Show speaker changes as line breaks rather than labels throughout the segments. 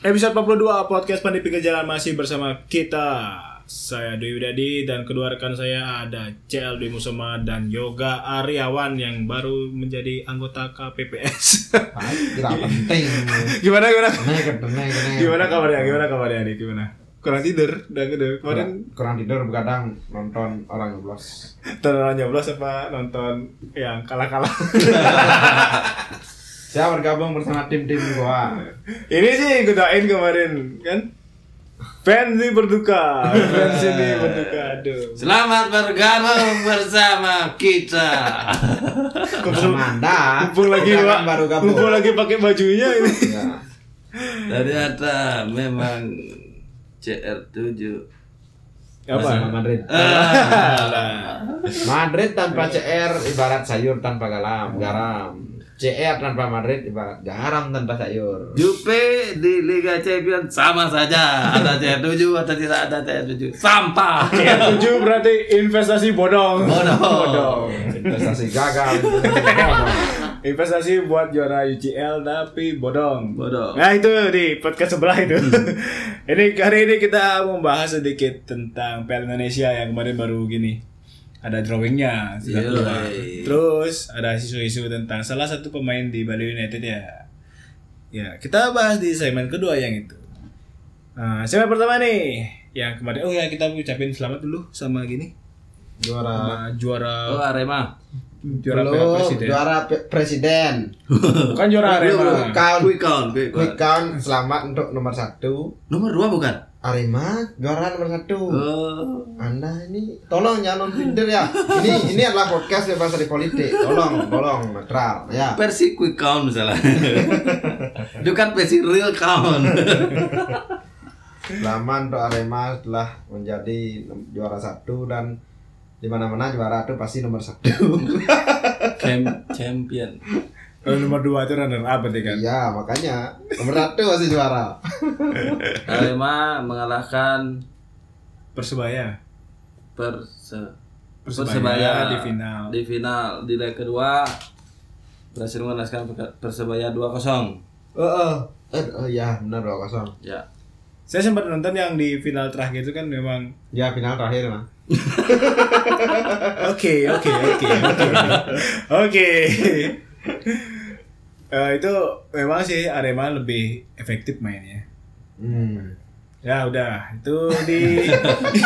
Episode 42 podcast Pandi Pinggir Jalan masih bersama kita. Saya Dwi Widadi dan kedua rekan saya ada CL Dwi Musoma dan Yoga Aryawan yang baru menjadi anggota KPPS.
Ah, Tidak penting.
gimana gimana?
Naik, naik, naik.
Gimana kabarnya? Gimana kabarnya nih? Gimana? Kurang tidur dan tidur. Kemarin
Kurang- kurang tidur kadang nonton orang nyoblos.
terlalu nyoblos apa nonton yang kalah-kalah.
Saya bergabung bersama tim-tim gua.
Ini sih godain kemarin kan? Fans ini berduka, fans ini berduka. Aduh.
Selamat bergabung bersama kita.
Bersama Anda.
Mumpung lagi
Kita
Pak.
kan baru gabung.
Mumpung lagi pakai bajunya ini.
Ya.
Ternyata memang CR7.
Bersama
Apa?
Madrid.
Ah,
Madrid tanpa
Iya.
CR ibarat sayur tanpa garam, garam. CR tanpa Madrid ibarat garam tanpa sayur.
Jupe di Liga Champions sama saja. Ada CR7 atau tidak ada CR7. Sampah.
Tujuh berarti investasi bodong.
Bodong.
Investasi gagal. investasi bodong.
Investasi buat juara UCL tapi bodong.
Bodong.
Nah itu di podcast sebelah itu.
Hmm.
ini hari ini kita mau bahas sedikit tentang Piala Indonesia yang kemarin baru gini. Ada drawingnya sudah
Yoi.
keluar. Terus ada isu-isu tentang salah satu pemain di Bali United ya. Ya kita bahas di segmen kedua yang itu. Nah, segmen pertama nih yang kemarin. Oh ya kita ucapin selamat dulu sama gini.
Juara
Sama juara
Oh, Arema.
juara Piala
belum
Presiden.
juara pe- presiden.
Bukan juara Arema.
Belum count.
Quick count, quick
Quick
count.
count selamat untuk nomor satu.
Nomor 2 bukan?
Arema juara nomor satu.
Oh.
Anda ini tolong jangan Tinder ya. Ini ini adalah podcast bebas dari politik. Tolong, tolong netral ya.
Versi quick count misalnya. Itu kan versi real count.
Lama untuk Arema telah menjadi juara satu dan di mana-mana juara itu pasti nomor satu.
Cam- champion.
Kalau nomor 2 itu runner up berarti kan.
Iya makanya nomor satu pasti juara.
Arema mengalahkan
Persebaya.
Perse
Persebaya di final.
di final di leg kedua berhasil mengalahkan Persebaya 2-0
Oh, oh. Eh, oh ya benar dua kosong.
ya
Saya sempat nonton yang di final terakhir itu kan memang
Ya final terakhir mah.
oke oke oke oke oke. Eh, itu memang sih Arema lebih efektif mainnya.
Hmm.
Ya udah itu di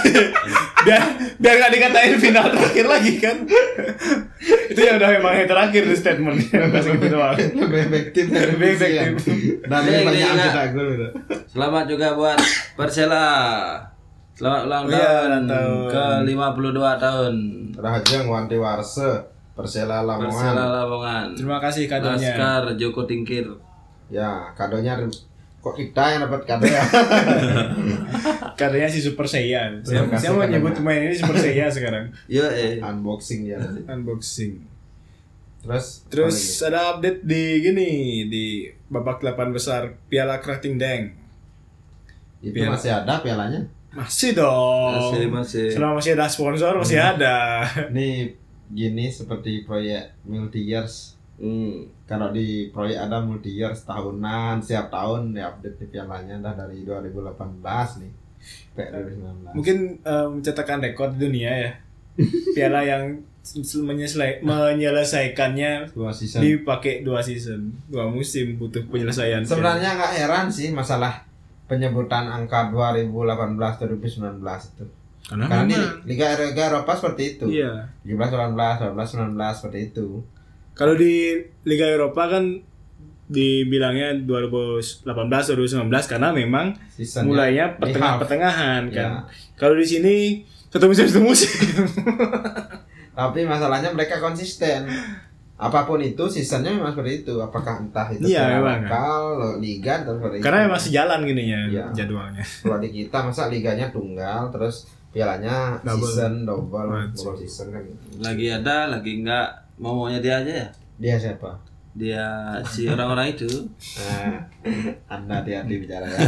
biar biar nggak dikatain final terakhir lagi kan. itu yang udah memang yang terakhir di statementnya pas gitu doang.
Lebih efektif dan
Lebih efektif.
efisien. Dan lebih
Iya,
banyak
iya, iya.
cetak gol gitu.
selamat juga buat Persela selamat ulang
Oh iya,
tahun
ulang tahun.
ke 52 tahun
Rahajeng Wanti Warse Persela Lamongan.
Persela Lamongan
Terima kasih kadonya.
Laskar Joko Tingkir
Ya, kadonya kok kita yang dapat kado ya?
Kadonya si Super Saiyan. Saya,
Terima kasih
saya mau
kadonya.
nyebut main ini Super Saiyan sekarang.
yo eh
Unboxing ya nanti.
Unboxing.
Terus
Terus ada update di gini di babak 8 besar Piala Krating Deng.
apalagi? itu
piala.
masih ada pialanya.
Masih dong.
Masih, masih.
Selama masih ada sponsor masih
Hmm.
ada.
Ini gini seperti proyek multi years.
hmm.
Kalau di proyek ada multi years tahunan, setiap tahun ya update di pialanya dah dari 2018 nih. Sampai 2019.
Mungkin eh, mencetakkan rekor di dunia ya. Piala yang s- menyelesai- menyelesaikannya
Dua season.
dipakai dua season, dua musim butuh penyelesaian.
Sebenarnya nggak heran sih masalah penyebutan angka 2018 2019 itu.
karena
Karena di
memang-
Liga Liga Eropa seperti itu.
Iya.
17 18 18 19 seperti itu.
Kalau di Liga Eropa kan dibilangnya 2018 2019 karena memang
Seasonnya
mulainya
di
pertengahan
half.
pertengahan kan.
Ya.
Kalau di sini satu musim satu musim.
Tapi masalahnya mereka konsisten. Apapun itu seasonnya memang seperti itu. Apakah entah itu
Iya,
piala
memang.
lokal, lo- liga atau seperti itu.
Karena emang sejalan gininya
Ya.
jadwalnya.
Kalau di kita masa liganya tunggal terus pialanya
Double.
season double,
Right.
double season kan.
lagi ada lagi enggak mau maunya dia aja ya
Dia siapa?
dia si orang-orang itu
Nah, anda hati-hati bicara ya.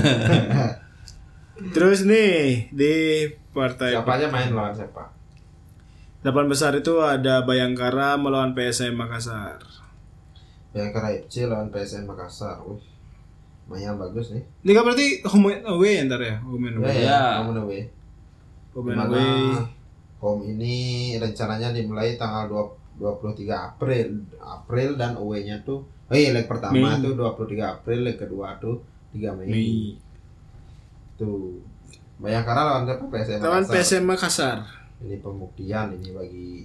Terus nih di partai
siapa aja main lawan siapa?
delapan besar itu ada Bayangkara melawan PSM Makassar.
Bayangkara FC lawan PSM Makassar. Wih, lumayan bagus nih.
Liga berarti home and away ya ntar ya, home and
Ya,
away.
ya,
Iya.
home and away.
Home and
Dimana
away.
home ini rencananya dimulai tanggal 20 23 April. April dan away-nya tuh eh leg pertama
Mei.
tuh 23 April, leg kedua tuh 3 Mei.
Mei.
Tuh. Bayangkara lawan siapa PSM?
Lawan
Makassar.
PSM Makassar.
Ini pembuktian ini bagi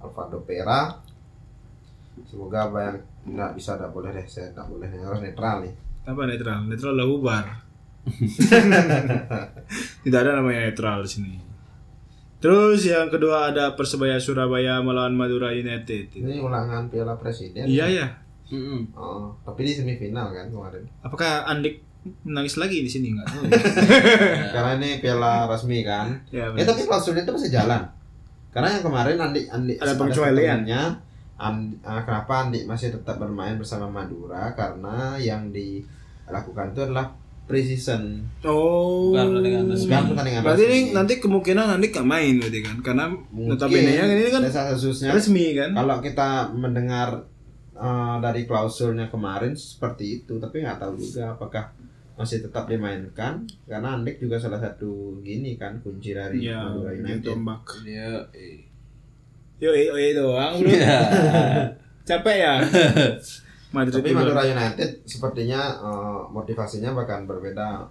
Alvaro Pera. Semoga bayang nggak bisa nggak boleh deh saya nggak boleh harus netral nih.
Apa netral? Netral lah bubar. Tidak ada namanya netral di sini. Terus yang kedua ada Persebaya Surabaya melawan Madura United.
Ini ulangan Piala Presiden.
Iya ya.
Mm-mm.
Oh, tapi di semifinal kan kemarin.
Apakah Andik menangis lagi di sini enggak?
Ya.
Karena ini piala resmi kan.
ya,
Ya tapi klausulnya itu masih jalan. Karena yang kemarin Andi Andi
Ada pengecualian.
temennya, Andi, ah, kenapa Andi masih tetap bermain bersama Madura? Karena yang dilakukan itu adalah preseason.
Oh.
Bukan pertandingan resmi.
Bukan pertandingan
Berarti
resmi.
ini nanti kemungkinan Andik gak main berarti kan? Karena
Mungkin
notabene yang ini kan
dasar kasusnya
resmi kan?
Ya. kalau kita mendengar eh, dari klausulnya kemarin seperti itu, tapi nggak tahu juga apakah masih tetap dimainkan karena Andik juga salah satu gini kan kunci dari
Iya,
Madura
main
United.
tombak.
Iya.
Yo, yo, yo doang bro.
Iya.
Capek ya. Madrid
Tapi
juga.
Madura United sepertinya eh, motivasinya bahkan berbeda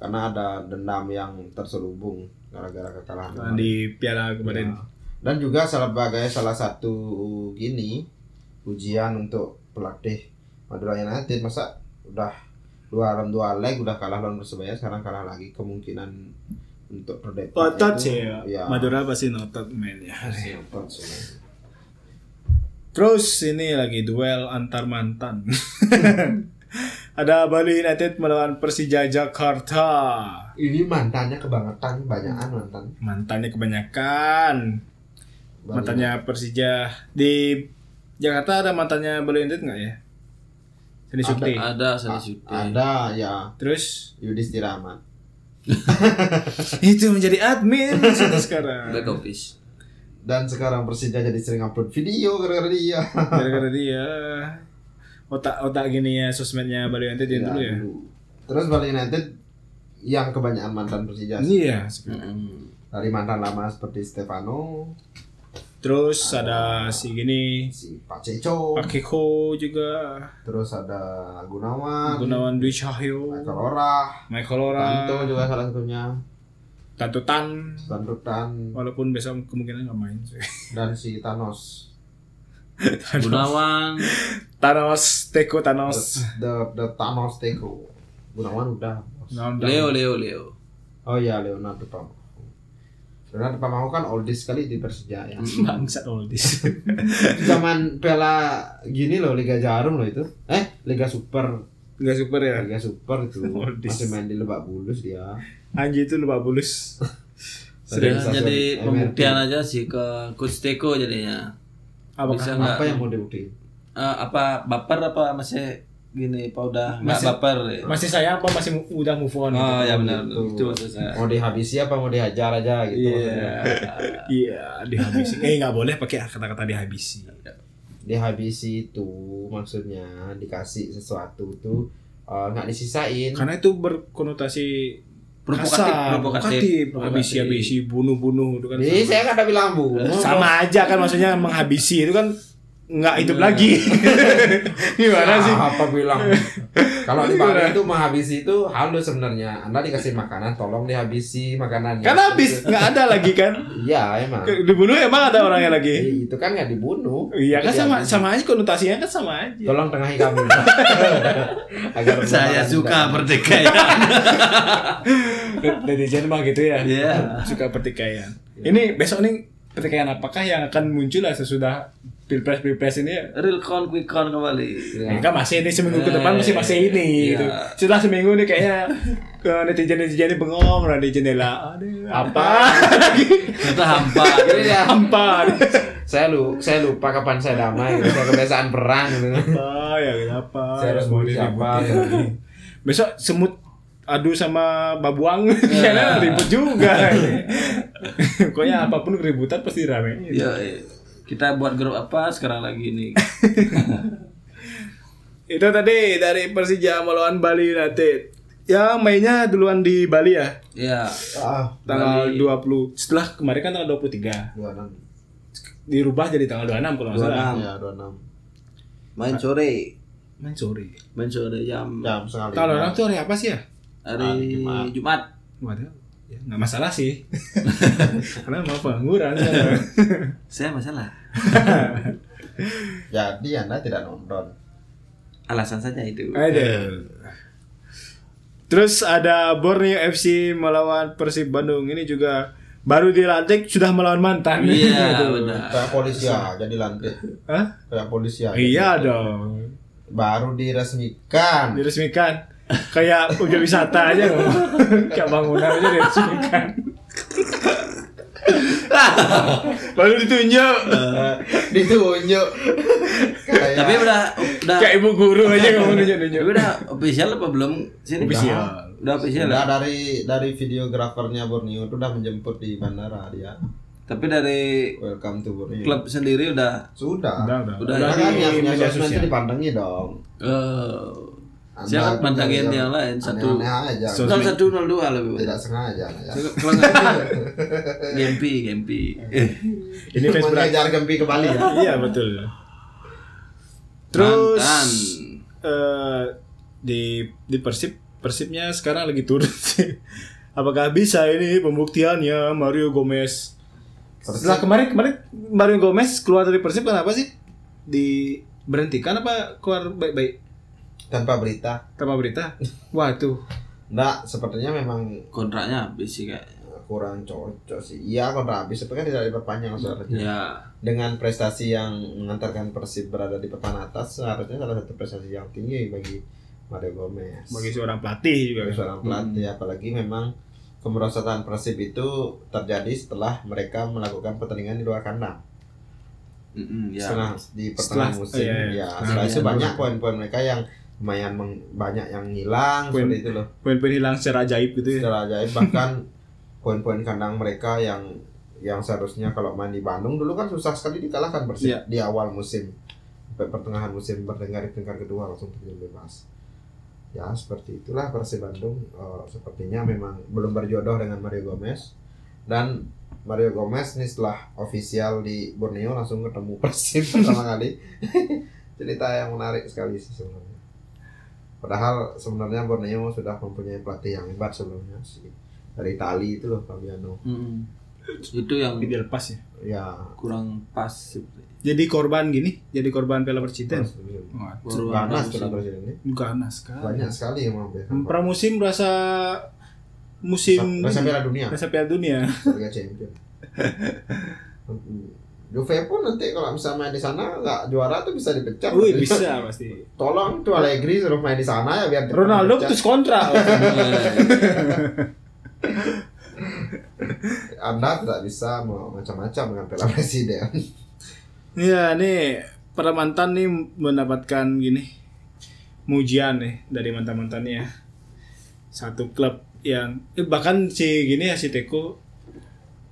karena ada dendam yang terselubung gara-gara kekalahan.
Nah, di Piala
kemarin.
kemarin.
Ya. Dan juga sebagai salah satu gini ujian untuk pelatih Madura United masa udah dua round dua leg udah kalah lawan Persebaya sekarang kalah lagi kemungkinan untuk terdekat
Otot
itu-
sih ya.
Iya,
Madura pasti notot main ya.
otot sih.
Terus ini lagi duel antar mantan. Ada Bali United melawan Persija Jakarta.
Ini mantannya kebangetan banyakan mantan.
Mantannya kebanyakan. Mantannya Persija di Jakarta ada mantannya Bali United nggak ya? Seni
Ada,
Sukti.
Ada
A-
Sani Suti.
ada ya
Terus
Yudhistira Ahmad.
itu menjadi admin di situ sekarang.
Back office.
Dan sekarang Persija jadi sering upload video gara-gara dia.
Gara-gara dia otak-otak gini ya sosmednya Bali United yang
Ya,
dulu ya.
dulu. Terus Bali United yang kebanyakan mantan Persija
Iya.
Mm-mm.
dari mantan lama seperti Stefano,
Terus ada si gini
si Paceco,
Akiko juga
terus ada Gunawan,
Gunawan Dwi Cahyo
Michael Orah,
Michael Ora
Tanto juga salah satunya,
Tanto Tan
Sandutan
walaupun besok kemungkinan nggak main sih
dan si Thanos.
Gunawan.
Thanos Teko
The,
Thanos
the, the Thanos Teko. Gunawan udah. bos.
Gunawan Dan.
Leo, Leo, Leo.
Oh iya Leonardo Pamahu. Leonardo Pamahu kan oldies sekali di Persija ya.
bangsat all this
Zaman Piala gini loh Liga Jarum loh itu. Eh Liga Super
nggak super ya
Liga Super itu
Oldies.
masih main di Lebak Bulus dia.
Anji itu lupa bulus
Ya,
Stasiun
jadi
MRT.
pembuktian aja sih ke Coach Teko jadinya.
apa
Bisa nggak?
Apa yang mau dibuktiin?
Eh, apa baper apa masih gini apa udah nggak
Masih-
baper ya?
masih sayang apa masih mu- udah move on gitu?
oh ya benar
Gitu.
itu maksud saya
Mau dihabisi apa mau dihajar aja gitu maksudnya.
iya
iya dihabisi eh nggak boleh pakai kata-kata dihabisi
Dihabisi itu maksudnya dikasih sesuatu tuh eh, nggak disisain.
karena itu berkonotasi
provokatif
kasar,
provokatif Iya,
habisi habisi bunuh bunuh itu kan
Jadi
sama.
saya kan ada bilang bu.
sama aja kan maksudnya menghabisi itu kan nggak hidup
Iya.
lagi gimana sih
Apa bilang? Kalau di
Gimana?
Bali itu menghabisi itu halus sebenarnya. Anda dikasih makanan, tolong dihabisi makanannya.
karena habis nggak ada lagi kan
Iya emang.
Ke- dibunuh emang ada orangnya lagi
Jadi itu kan nggak dibunuh.
iya kan
Jadi
sama
habis.
sama aja konotasinya kan sama aja
Tolong tengahi kami. Agar pertemanan
saya suka ya.
tidak-
perdekaian
netizen mah gitu ya
Iya.
suka pertikaian ini besok nih pertikaian apakah yang akan muncul lah sesudah pilpres pilpres ini ya
real count quick count kembali
Ya.
Enggak masih ini seminggu ke depan
Eh,
masih masih ini
iya.
gitu. Setelah seminggu nih kayaknya ke netizen netizen ini bengong lah di jendela. Aduh, apa?
kita hampa
Jadi ya,
Ampar.
saya lu saya lupa kapan saya damai gitu. saya kebiasaan perang gitu
apa ya kenapa?
Saya harus
Mau
bunuh siapa?
diributin. Besok semut adu sama babuang
Iya.
karena ribut juga. Pokoknya apapun keributan pasti rame.
Iya, ya kita buat grup apa sekarang lagi nih
Itu tadi dari Persija melawan Bali United. Ya mainnya duluan di Bali ya.
Iya.
Ah,
Tanggal
Bali.
20. Setelah kemarin kan tanggal 23.
26.
Dirubah jadi tanggal 26 kalau nggak salah.
26.
Ya, 26.
Main sore.
Main sore.
Main sore jam
Jam sekali.
Tanggal 26 tuh hari apa sih ya?
hari
Jumat.
Jumat.
Waduh. Ya, nggak masalah sih. Karena mau pengangguran.
Saya masalah.
Jadi Anda tidak nonton.
Alasan saja itu.
Eh, Aduh. Terus ada Borneo FC melawan Persib Bandung. Ini juga baru dilantik sudah melawan mantan.
Iya, benar.
Kayak polisi aja di lantai.
Hah?
Kayak polisi aja.
Iya dong.
Baru diresmikan.
Diresmikan. Kayak udah wisata aja loh. Kayak bangunan aja diresmikan. Baru ditunjuk.
Eh, Ditunjuk. Kayak
Tapi udah udah
Kayak ibu guru aja kamu nunjuk-nunjuk.
tapi udah official apa belum sini?
Official.
Udah official.
Nah,
ya?
dari dari videografernya Borneo itu udah menjemput di bandara dia.
Tapi dari
Welcome to Borneo.
klub sendiri udah
Sudah.
Udah, udah.
Udah,
Udah
Nah,
di
kan yang punya
media
sosmed itu
sosial.
dipandangi dong.
eh
Anda
siapa
punya
pantangin yang lain satu
aneh-aneh aja.
Sosmed.
0102 lebih banyak.
Tidak sengaja. Ya.
Kalau nggak ada, gempi, gempi. Eh,
Ini fans berat.
Mengejar gempi kembali ya.
Iya betul. Terus
Mantan.
eh, di di Persib Persibnya sekarang lagi turun sih. Apakah bisa ini pembuktiannya Mario Gomez? Setelah kemarin kemarin Mario Gomez keluar dari Persib kenapa sih? Diberhentikan apa keluar baik-baik
Tanpa berita.
tanpa berita? Wah tuh.
Enggak, sepertinya memang
kontraknya habis sih kayak.
kurang cocok sih. Iya kontrak habis, tapi kan tidak diperpanjang seharusnya.
Ya,
Dengan prestasi yang mengantarkan Persib berada di papan atas, seharusnya salah satu prestasi yang tinggi bagi Mario Gomez.
Bagi seorang pelatih juga.
Bagi seorang pelatih, ya, apalagi memang kemerosotan Persib itu terjadi setelah mereka melakukan pertandingan di luar kandang.
mm-mm, ya.
Setelah di pertengahan
Setelah-
musim,
iya, iya.
ya,
Setelah
setelah itu
musim.
banyak poin-poin mereka yang lumayan meng- banyak yang hilang
Poin-
seperti itu loh.
Poin-poin hilang secara ajaib gitu ya.
secara ajaib bahkan poin-poin kandang mereka yang yang seharusnya kalau main di Bandung dulu kan susah sekali dikalahkan Persib
Iya.
di awal musim sampai pertengahan musim berdengar di peringkat kedua langsung terjun bebas ya seperti itulah Persib Bandung eh, sepertinya memang belum berjodoh dengan Mario Gomez dan Mario Gomez nih setelah official di Borneo langsung ketemu Persib pertama kali cerita yang menarik sekali sih sebenarnya Padahal sebenarnya Borneo sudah mempunyai pelatih yang hebat sebelumnya sih. Dari Itali itu loh Fabiano.
Mm-mm. Itu yang
Tapi dilepas ya.
Ya.
kurang pas sebenarnya.
Jadi korban gini, jadi korban Piala Presiden.
Panas
Waduh,
Baru
tuh
ada
lah
musim.
presiden ini.
ganas sekali.
Banyak sekali yang membedakan.
pramusim rasa musim
Rasa Piala Dunia
rasa Piala Dunia
sebagai champion. Juve pun nanti kalau misalnya main di sana nggak juara tuh bisa dipecat.
wih bisa pasti
Tolong tuh Allegri suruh main di sana ya biar
Ronaldo
dipecat.
putus kontrak
Eh,
Anda tidak bisa mau macam-macam dengan Piala Presiden.
Iya nih para mantan nih mendapatkan gini mujian nih dari mantan-mantannya satu klub yang eh, bahkan si gini ya si Teko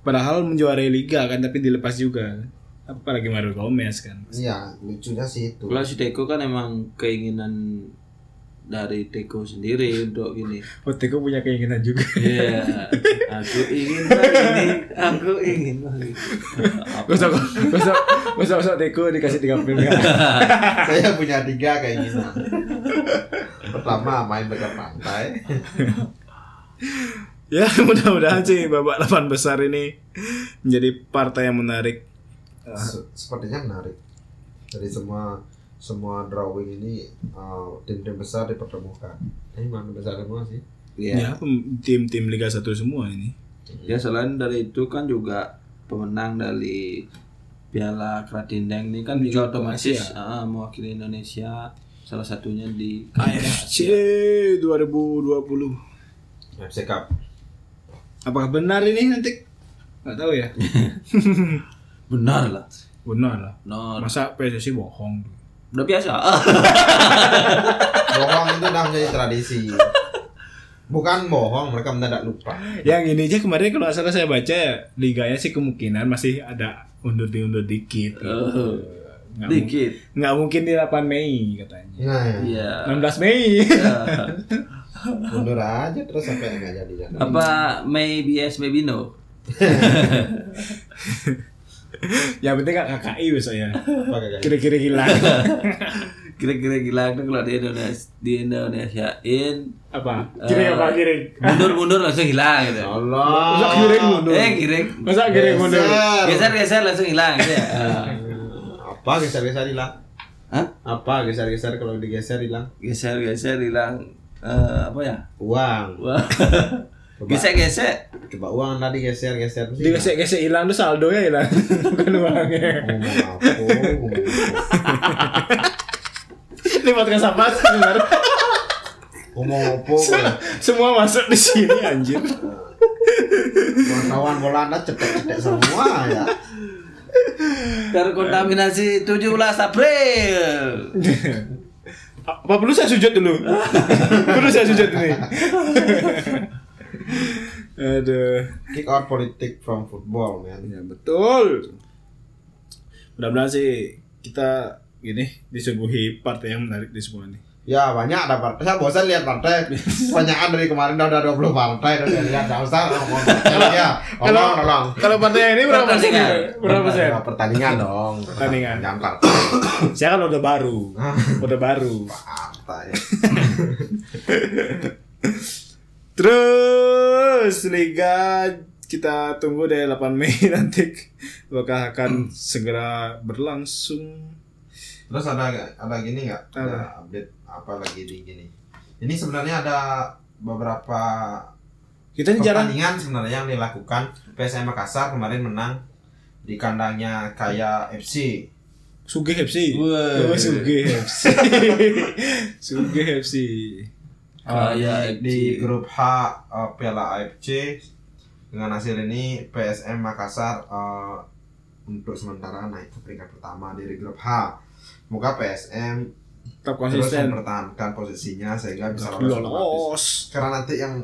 padahal menjuarai liga kan tapi dilepas juga apalagi Mario Gomez kan
Iya, lucunya sih itu.
Kalau si Teko kan emang keinginan dari Teko sendiri untuk gini.
oh Teko punya keinginan juga
Iya, aku ingin ini, aku ingin lagi.
gak usah gak usah gak usah- gak usah Teko dikasih 30 miliar
saya punya tiga kayak gini pertama main dekat pantai
Ya mudah-mudahan sih babak 8 besar ini menjadi partai yang menarik.
Se- sepertinya menarik dari semua semua drawing ini uh, tim-tim besar dipertemukan ini mana besar semua sih
Iya.
Ya pem- tim-tim Liga 1 semua ini.
Ya selain dari itu kan juga pemenang dari Piala Kratindeng ini kan juga otomatis ah, mewakili Indonesia salah satunya di Iya.
AFC 2020.
FC Cup
Apakah benar ini nanti? Gak tahu ya.
Benar lah.
Benar lah.
Benar.
Masa PSSI bohong?
Udah biasa.
bohong itu udah menjadi tradisi bukan bohong mereka mendadak lupa
Yang ini aja kemarin kalau nggak salah ya, saya baca liganya sih kemungkinan masih ada undur diundur dikit. gitu.
Eh,
Nggak, mu-
dikit
nggak mungkin di 8 Mei katanya.
Nah,
iya
16 Mei.
Iya.
mundur aja terus sampai nggak jadi jadi.
apa maybe yes maybe no
yang penting nggak KKI besok ya.
Apa kagak?
Kira-kira hilang.
kira-kira gila itu kalau di Indonesia di Indonesiain
apa? Kira apa kira?
mundur-mundur langsung hilang gitu
Masa
Allah.
kira mundur?
eh giring
Masa kira mundur?
Geser. Iya.
geser-geser langsung hilang gitu ya Ah.
Apa geser-geser hilang?
Hah?
Apa geser-geser kalau digeser hilang?
geser-geser hilang Eh, apa ya
Uang.
Wah. gesek-gesek
Coba uang tadi geser-geser mesti hilang.
Digesek-gesek hilang tuh saldonya hilang. Bukan uangnya.
Ngomong apa? Ngomong apa?
Ini podcast apa sih sebenarnya?
Ngomong apa? kau?
Semua masuk di sini anjir.
Wartawan Belanda cetek-cetek semua ya.
terkontaminasi 17 April
apa perlu saya sujud dulu? perlu saya sujud ini. Aduh.
Kick out politik from football, man.
Ya betul. Mudah-mudahan sih kita gini disuguhi part yang menarik di semua ini.
Ya banyak ada partai. Saya bosan lihat partai. Banyakan dari kemarin dah ada 20 partai udah saya lihat enggak usah ngomong partai lagi ya.
Kalau
Tolong, tolong.
kalau partai yang ini berapa persen?
Pertandingan.
Berapa persen?
Nah, pertandingan dong.
Pertandingan.
Jangan partai.
Saya kan udah baru.
Ah.
Udah baru.
Partai.
Terus liga kita tunggu dari 8 Mei nanti bakal akan segera berlangsung.
Terus ada ada gini nggak? Ada update apa lagi di gini? Ini sebenarnya ada beberapa
Kita ini jarang
pertandingan sebenarnya yang dilakukan PSM Makassar kemarin menang di kandangnya Kaya FC.
Sugih FC.
Wah.
Oh, Sugih FC. Sugih FC.
Ah,
di,
ya,
di
FC.
grup H eh, Piala AFC dengan hasil ini PSM Makassar eh, untuk sementara naik ke peringkat pertama dari grup H. Semoga PSM
Tetap
terus
konsisten.
mempertahankan posisinya sehingga bisa lolos otomatis.
Lolos.
Karena nanti yang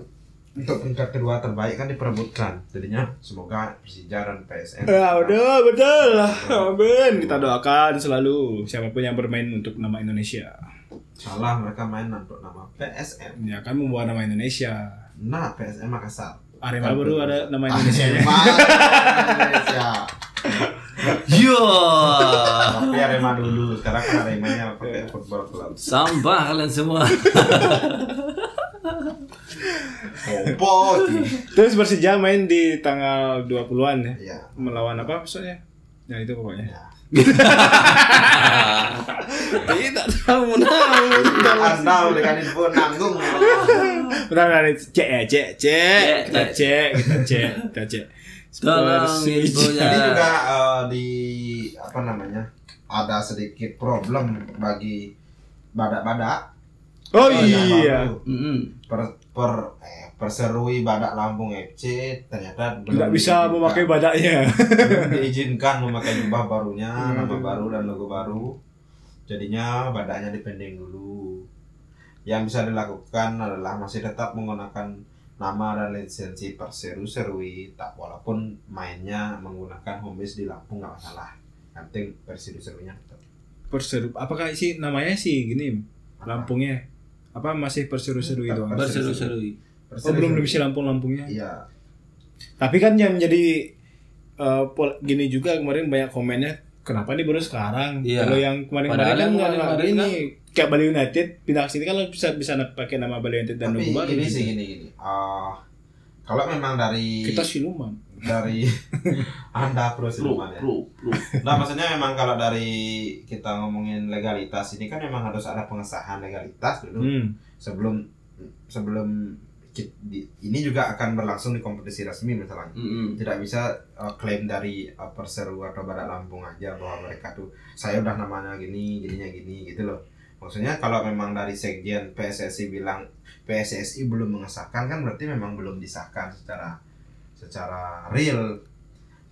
untuk peringkat kedua terbaik kan diperebutkan. Jadinya semoga Persija dan PSM.
Ya udah betul. Amin. Kita doakan selalu siapapun yang bermain untuk nama Indonesia.
Salah mereka main untuk nama PSM.
Ya kan membawa nama Indonesia.
Nah, PSM Makassar.
Arema baru ada
Ah,
nama Indonesia.
Arema Indonesia.
yo
Tapi Arema dulu, sekarang kan Arema yang
Iya.
pakai football club.
sampah kalian semua
Opo.
Terus Persija main di tanggal 20-an ya.
Iya.
Melawan apa maksudnya? Ya itu pokoknya.
Ya.
tidak tahu menang
Anda udah kan info nanggung.
Bentar, bentar, cek ya, cek, cek,
Cek,
kita
cek.
cek, kita cek, kita cek.
Tolong infonya.
Ini juga eh, di apa namanya? Ada sedikit problem bagi badak-badak.
Oh
Ada
iya,
baru. Per, per eh, perserui badak Lampung FC ternyata belum
nggak bisa
diizinkan.
memakai badaknya.
belum diizinkan memakai jubah barunya,
Hmm.
nama baru dan logo baru. Jadinya badannya dipending dulu. Yang bisa dilakukan adalah masih tetap menggunakan nama dan lisensi Perseru Serui, tak walaupun mainnya menggunakan home base di Lampung nggak masalah. Yang penting Perseru Seruinya tetap.
Perseru, apakah sih namanya sih gini Lampungnya? Apa masih perseru-seru itu?
Tetap
berseru-seru
Oh
Perseru
belum
Serui.
diisi Lampung-Lampungnya.
Iya.
Tapi kan yang menjadi eh, pol- gini juga kemarin banyak komennya kenapa nih baru sekarang?
Iya.
Kalau yang kemarin-kemarin
Padahal
kan
yang
nggak ada
kemarin-kemarin
ini kayak Bali United pindah ke sini kan lo bisa bisa na- pakai nama Bali United dan
Tapi
logo baru.
ini
gitu.
sih gini gini. Ah, kalau memang dari
Kita siluman.
dari Anda pro siluman ya.
pro pro
Nah maksudnya memang kalau dari kita ngomongin legalitas ini kan memang harus ada pengesahan legalitas dulu
Hmm.
sebelum sebelum ki- di- ini juga akan berlangsung di kompetisi resmi misalnya
Mm-mm.
tidak bisa uh, klaim dari uh, Perseru atau Badak Lampung aja bahwa mereka tuh saya udah namanya gini jadinya gini gitu loh maksudnya kalau memang dari sekjen PSSI bilang PSSI belum mengesahkan kan berarti memang belum disahkan secara secara real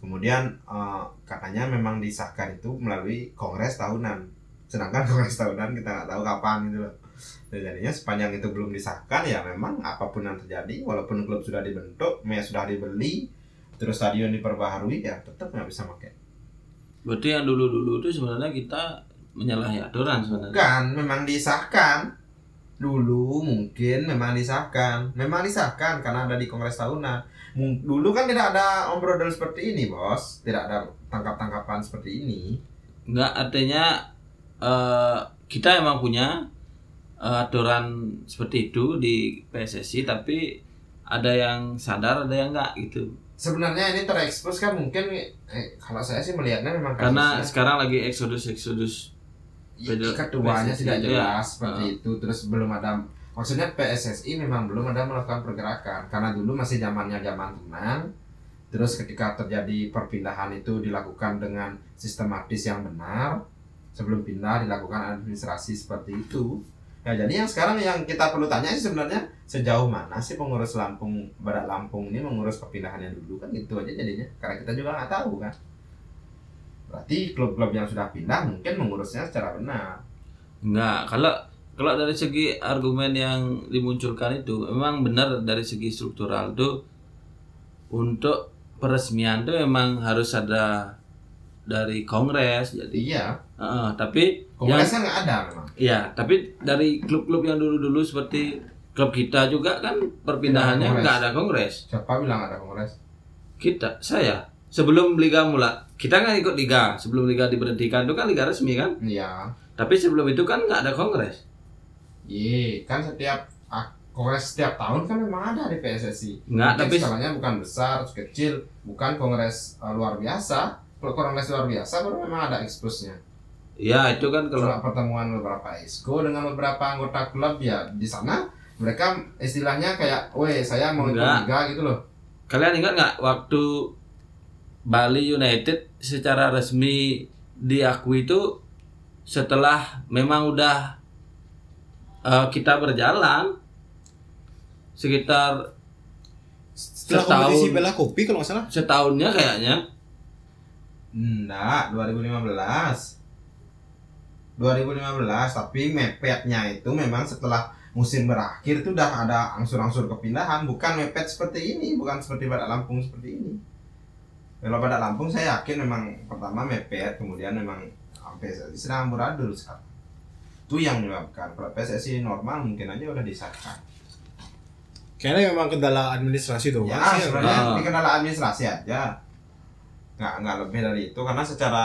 kemudian eh, katanya memang disahkan itu melalui kongres tahunan sedangkan kongres tahunan kita nggak tahu kapan gitu loh Dan jadinya sepanjang itu belum disahkan ya memang apapun yang terjadi walaupun klub sudah dibentuk ya sudah dibeli terus stadion diperbaharui ya tetap nggak bisa pakai
Berarti yang dulu-dulu itu sebenarnya kita menyalahi aturan sebenarnya.
Bukan, Kan, memang disahkan. Dulu mungkin memang disahkan. Memang disahkan karena ada di Kongres Tahunan. Mung- Dulu kan tidak ada ombrodol seperti ini, Bos. Tidak ada tangkap-tangkapan seperti ini.
Enggak artinya eh, kita emang punya eh, aturan seperti itu di PSSI tapi ada yang sadar ada yang enggak gitu.
Sebenarnya ini terekspos kan mungkin eh, kalau saya sih melihatnya memang
Karena
kasusnya-
sekarang lagi eksodus eksodus.
Ya,
Beda-
ketuanya
PSSI
tidak
itu ya.
jelas seperti itu terus belum ada maksudnya PSSI memang belum ada melakukan pergerakan karena dulu masih zamannya zaman tenang terus ketika terjadi perpindahan itu dilakukan dengan sistematis yang benar sebelum pindah dilakukan administrasi seperti itu ya jadi yang sekarang yang kita perlu tanya sih sebenarnya sejauh mana sih pengurus Lampung Badak Lampung ini mengurus perpindahannya dulu kan gitu aja jadinya karena kita juga nggak tahu kan berarti klub-klub yang sudah pindah mungkin mengurusnya secara benar
Enggak, kalau kalau dari segi argumen yang dimunculkan itu memang benar dari segi struktural itu untuk peresmian itu memang harus ada dari kongres jadi
Iya,
Heeh, tapi yang
kongresnya kan nggak ada memang.
ya tapi dari klub-klub yang dulu-dulu seperti klub kita juga kan
Tidak ada
perpindahannya
kongres.
nggak ada kongres
Siapa bilang ada kongres?
kita saya sebelum liga mula kita kan ikut liga sebelum liga diberhentikan itu kan liga resmi kan
Iya,
tapi sebelum itu kan nggak ada kongres
iya kan setiap ah, kongres setiap tahun kan memang ada di PSSI.
nggak
Mungkin
Nah, tapi
skalanya bukan besar, terus kecil, bukan kongres eh, luar biasa. Kalau kongres luar biasa baru memang ada eksplusnya.
ya itu kan kalau
Kalau pertemuan beberapa esko dengan beberapa anggota klub ya di sana mereka istilahnya kayak, weh saya mau ikut
Nggak.
liga gitu loh.
Kalian ingat nggak waktu Bali United secara resmi diakui itu setelah memang udah eh, kita berjalan sekitar
Setelah
Setahun.
kompetisi bela kopi kalau nggak salah.
setahunnya kayaknya
Enggak, 2015. 2015, tapi mepetnya itu memang setelah musim berakhir itu udah ada angsur-angsur kepindahan, bukan mepet seperti ini, bukan seperti Badak Lampung seperti ini. Kalau Badak Lampung saya yakin memang pertama mepet, kemudian memang PSSI sedang amburadul sekarang. Itu yang menyebabkan kalau PSSI normal mungkin aja udah disahkan.
Kayaknya memang kendala administrasi tuh.
Ya,
Pak. Sih,
sebenarnya
Ah.
ini kendala administrasi aja. Nggak, nggak lebih dari itu karena secara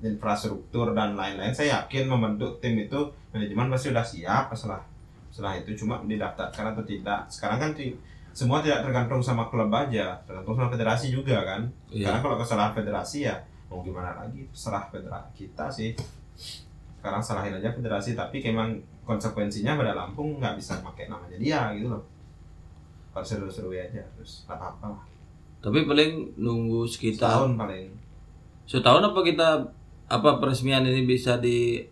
infrastruktur dan lain-lain saya yakin membentuk tim itu manajemen pasti sudah siap setelah setelah itu cuma didaftarkan atau tidak sekarang kan ti- semua tidak tergantung sama klub aja tergantung sama federasi juga kan
Iya.
karena kalau kesalahan federasi ya mau gimana lagi terserah federasi kita sih sekarang salahin aja federasi tapi memang konsekuensinya pada Lampung nggak bisa pakai namanya dia gitu loh harus seru-seru aja terus nggak apa-apa lah
tapi paling nunggu sekitar
tahun paling
setahun apa kita apa peresmian ini bisa di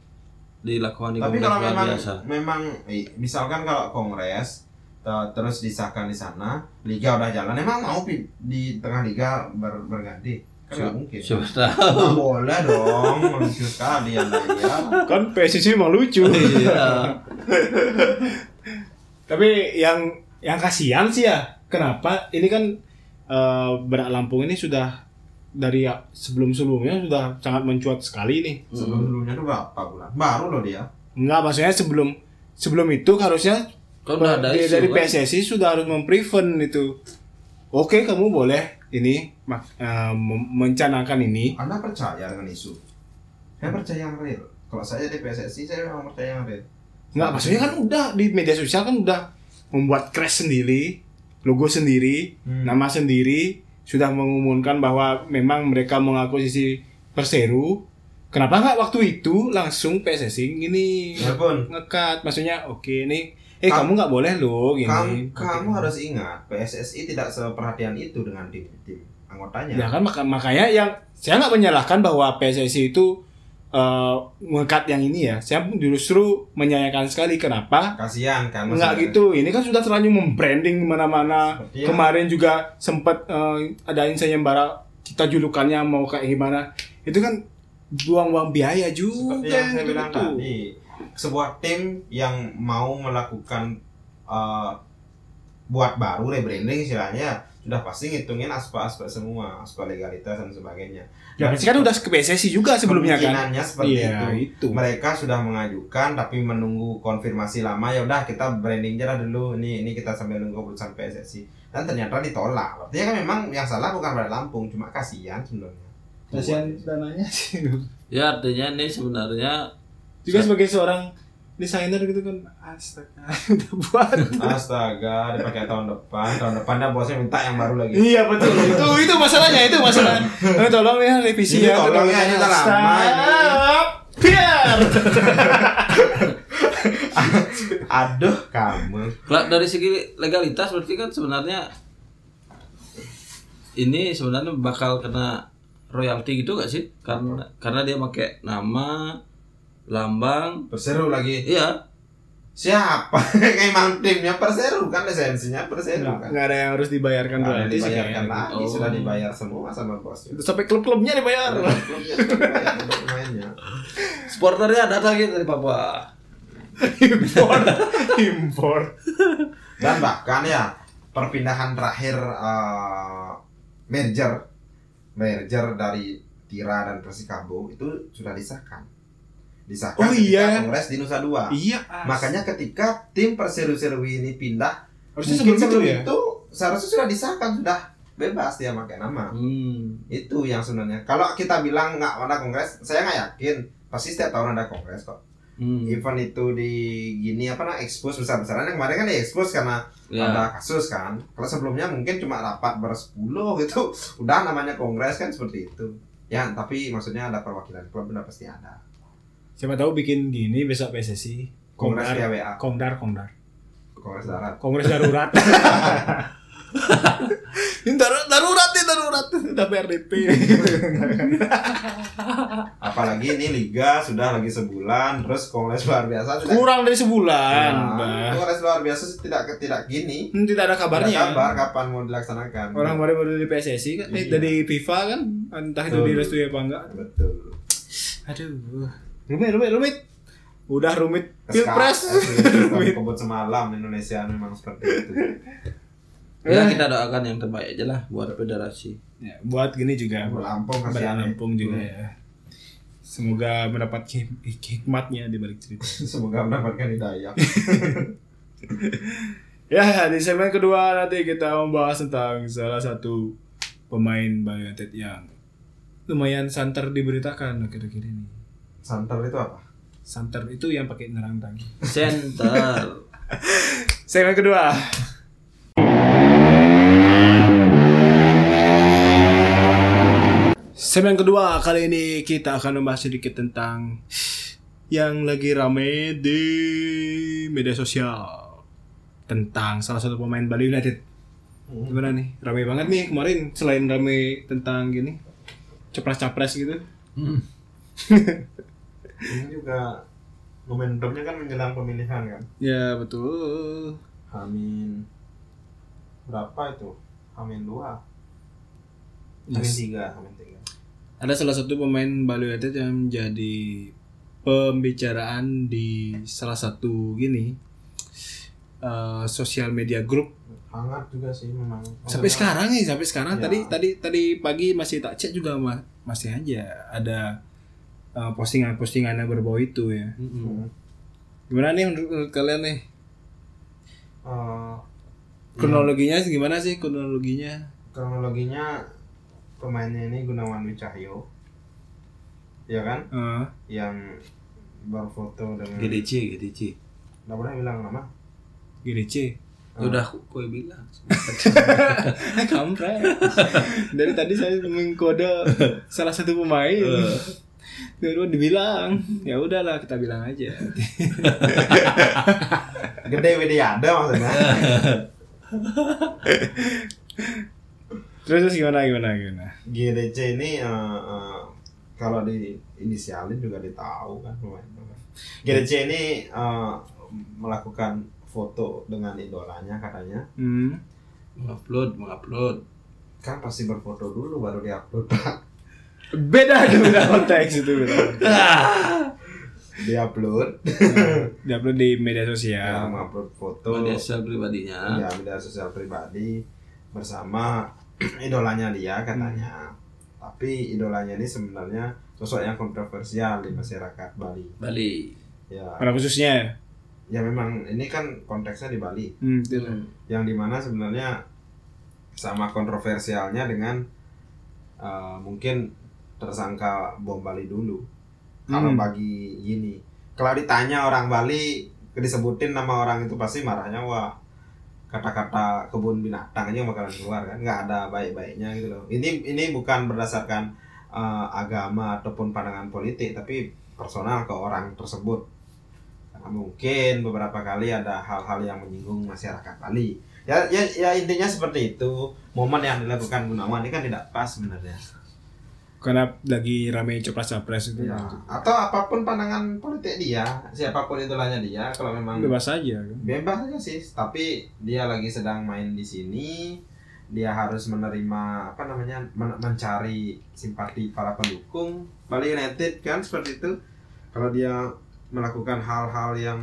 dilakukan di
tapi
kongres
kalau
luar
memang
biasa
memang i- misalkan kalau kongres te- terus disahkan di sana liga udah jalan emang mau pi- di tengah liga ber- berganti kan nggak mungkin
siapa tahu
nggak boleh dong lucu sekali anda ya
Kan PSSI memang lucu.
Iya.
Tapi yang yang kasihan sih ya, kenapa ini kan eh, Badak Lampung ini sudah dari ya- sebelum-sebelumnya sudah sangat mencuat sekali nih.
sebelumnya tuh berapa bulan baru loh dia
Enggak, maksudnya sebelum sebelum itu harusnya
Kan
Iya,
udah ada
dari,
isu,
dari
kan?
PSSI sudah harus memprevent itu. Oke, kamu boleh ini mak- eh, mem- mencanangkan ini.
Anda percaya dengan isu? Saya percaya yang real. Kalau saya di PSSI, saya memang percaya yang real.
Enggak, maksudnya kan udah di media sosial kan udah membuat crash sendiri, logo sendiri,
Hmm.
nama sendiri, sudah mengumumkan bahwa memang mereka mengakuisisi Perseru. Kenapa nggak waktu itu langsung PSSI gini
Walaupun
ngekat? Maksudnya oke nih, eh
Kam-
kamu nggak boleh loh gini.
kamu, kamu harus ingat, PSSI tidak seperhatian itu dengan tim-tim
Ya
anggotanya.
kan maka- makanya yang saya nggak menyalahkan bahwa PSSI itu eh ngekat yang ini ya. Saya justru menyayangkan sekali kenapa
Kasihan kan?
Enggak
maksudnya.
gitu, ini kan sudah terlanjur membranding di mana-mana.
Seperti yang-
Kemarin juga sempat eh, ada yang bara kita julukannya mau kayak gimana. Itu kan buang-buang biaya juga.
Seperti yang saya
gitu-gitu.
bilang tadi, sebuah tim yang mau melakukan eh, buat baru rebranding istilahnya sudah pasti ngitungin aspek-aspek semua aspek legalitas dan sebagainya
Ya,
Nah,
Messi kan udah ke PSSI juga sebelumnya kan.
Kemungkinannya seperti
Iya,
itu
itu.
mereka sudah mengajukan tapi menunggu konfirmasi lama ya udah kita branding aja lah dulu ini ini kita sambil nunggu keputusan PSSI dan ternyata ditolak artinya kan memang yang salah bukan pada Lampung cuma kasihan sebenarnya
Kasihan dananya sih.
Ya artinya ini sebenarnya
Juga sebagai seorang desainer gitu kan astaga udah buat.
astaga dipakai tahun depan tahun depan dah bosnya minta yang baru lagi
Iya betul. itu itu masalahnya itu masalah. Eh, tolong ya revisi
Ini
ya.
tolong ya, ini udah lama ini.
Stop. Biar.
aduh kamu
Kalau dari segi legalitas berarti kan sebenarnya ini sebenarnya bakal kena royalti gitu gak sih? Karena karena dia pakai nama, lambang,
berseru lagi
iya.
siapa emang timnya perseru kan lisensinya perseru kan
Enggak ada yang harus Iya. Kan dibayarkan
Nggak ada
berarti sih
dibayarkan
kayaknya.
lagi
Oh.
sudah dibayar semua sama bosnya
Terus Sampai klub-klubnya dibayar.
Mainnya.
Supporternya datang gitu dari Papua.
Impor. Impor.
Dan bahkan ya perpindahan terakhir eh, merger merger dari Tira dan Persikabo itu sudah disahkan. Disahkan
Oh,
ketika
iya.
Kongres di Nusa Dua.
Iya. as-
Makanya ketika tim perseru-serui ini pindah,
harusnya
mungkin
sebelum itu ya.
seharusnya sudah disahkan sudah bebas dia pakai nama.
Hmm.
Itu yang sebenarnya. Kalau kita bilang nggak ada kongres, saya nggak yakin. Pasti setiap tahun ada kongres kok.
Hmm.
event itu di gini apa nah expose besar-besaran yang kemarin kan di expose karena ada
Ya.
kasus kan kalau sebelumnya mungkin cuma rapat bersepuluh gitu udah namanya kongres kan seperti itu ya tapi maksudnya ada perwakilan klub udah pasti ada
Siapa tahu bikin gini besok PSSI.
kongres
Kongdar,
ya. PWA
kongdar, kongdar.
kongres darat
ya. Kongres darurat. Ini dar- darurat nih darurat udah PRDP.
apalagi ini liga sudah lagi sebulan terus kongres luar biasa tidak
Kurang dari sebulan.
Nah,
Mbak.
kongres luar biasa sih tidak tidak gini
Hmm, Tidak ada
Tidak
kabarnya.
kabar kapan mau dilaksanakan
Orang baru baru di PSSI kan, eh,
Iya.
dari FIFA kan, entah itu
Betul.
direstui apa enggak.
betul
Aduh, rumit, rumit, rumit. Udah rumit
Pilpres,
pilpres.
kebut eh, semalam Indonesia memang seperti itu.
Ya kita doakan yang terbaik aja lah buat federasi.
Ya, buat gini juga, buat
Lampung kasihan ya.
Lampung juga ya. Semoga mendapat hik- hikmatnya di balik cerita.
Semoga mendapatkan hidayah.
Ya, di segmen kedua nanti kita membahas tentang salah satu pemain Bali United yang lumayan santer diberitakan akhir-akhir ini.
Santer itu apa?
Santer itu yang pakai nerang-nerang.
Center.
Segmen kedua. Segmen kedua kali ini kita akan membahas sedikit tentang yang lagi rame di media sosial tentang salah satu pemain Bali United. Gimana nih? Rame banget nih kemarin selain rame tentang gini capres-capres gitu.
Hmm.
Ini juga momentumnya kan menjelang pemilihan kan.
Ya betul.
Hamin berapa itu? Hamin dua. Hamin
Yes.
tiga. Hamin tiga.
ada salah satu pemain Bali United yang menjadi pembicaraan di salah satu gini eh sosial media grup
Hangat juga sih memang.
sampai sekarang nih sampai sekarang
Oh, Ya.
tadi tadi tadi pagi masih tak cek juga ma- masih aja ada eh, postingan-postingan yang berbau itu ya
Hmm.
Mm-mm.
gimana nih menurut, menurut kalian nih
Eh,
kronologinya gimana sih kronologinya
kronologinya pemainnya ini Gunawan Wicahyo, ya kan?
Eh,
Yang berfoto dengan.
GDC, GDC.
Nggak boleh bilang nama.
GDC
Ya Udah aku kue bilang.
kampret dari tadi saya mengkode salah satu pemain Dua-dua dibilang ya udahlah kita bilang aja
Gede Wede ada maksudnya.
terus, terus gimana gimana gimana
GDC ini eh, eh, kalau di inisialin juga ditahu kan lumayan.
Iya.
GDC ini eh, melakukan foto dengan idolanya katanya
hmm.
mengupload, mengupload.
kan pasti berfoto dulu baru diupload pak
beda itu beda konteks itu beda konteks.
dia upload
Diupload di media
ya.
sosial.
upload foto
media sosial pribadinya
ya media sosial pribadi bersama idolanya dia katanya
Hmm.
tapi idolanya ini sebenarnya sosok yang kontroversial di masyarakat Bali
Bali
ya
Pada khususnya.
ya memang ini kan konteksnya di Bali
Hmm, itu
Iya.
lah.
yang dimana sebenarnya sama kontroversialnya dengan eh, mungkin tersangka bom Bali dulu kalau
Hmm.
bagi gini kalau ditanya orang Bali disebutin nama orang itu pasti marahnya wah kata-kata kebun binatang aja bakalan keluar kan nggak ada baik-baiknya gitu loh ini ini bukan berdasarkan eh, agama ataupun pandangan politik tapi personal ke orang tersebut Karena mungkin beberapa kali ada hal-hal yang menyinggung masyarakat Bali ya, ya ya intinya seperti itu momen yang dilakukan Gunawan ini kan tidak pas sebenarnya
Karena lagi rame copras-capres itu.
Ya, atau apapun pandangan politik dia, siapapun idolanya dia, kalau memang bebas.
Bebas aja kan.
aja sih, tapi dia lagi sedang main di sini, dia harus menerima apa namanya men- mencari simpati para pendukung Bali United kan seperti itu. Kalau dia melakukan hal-hal yang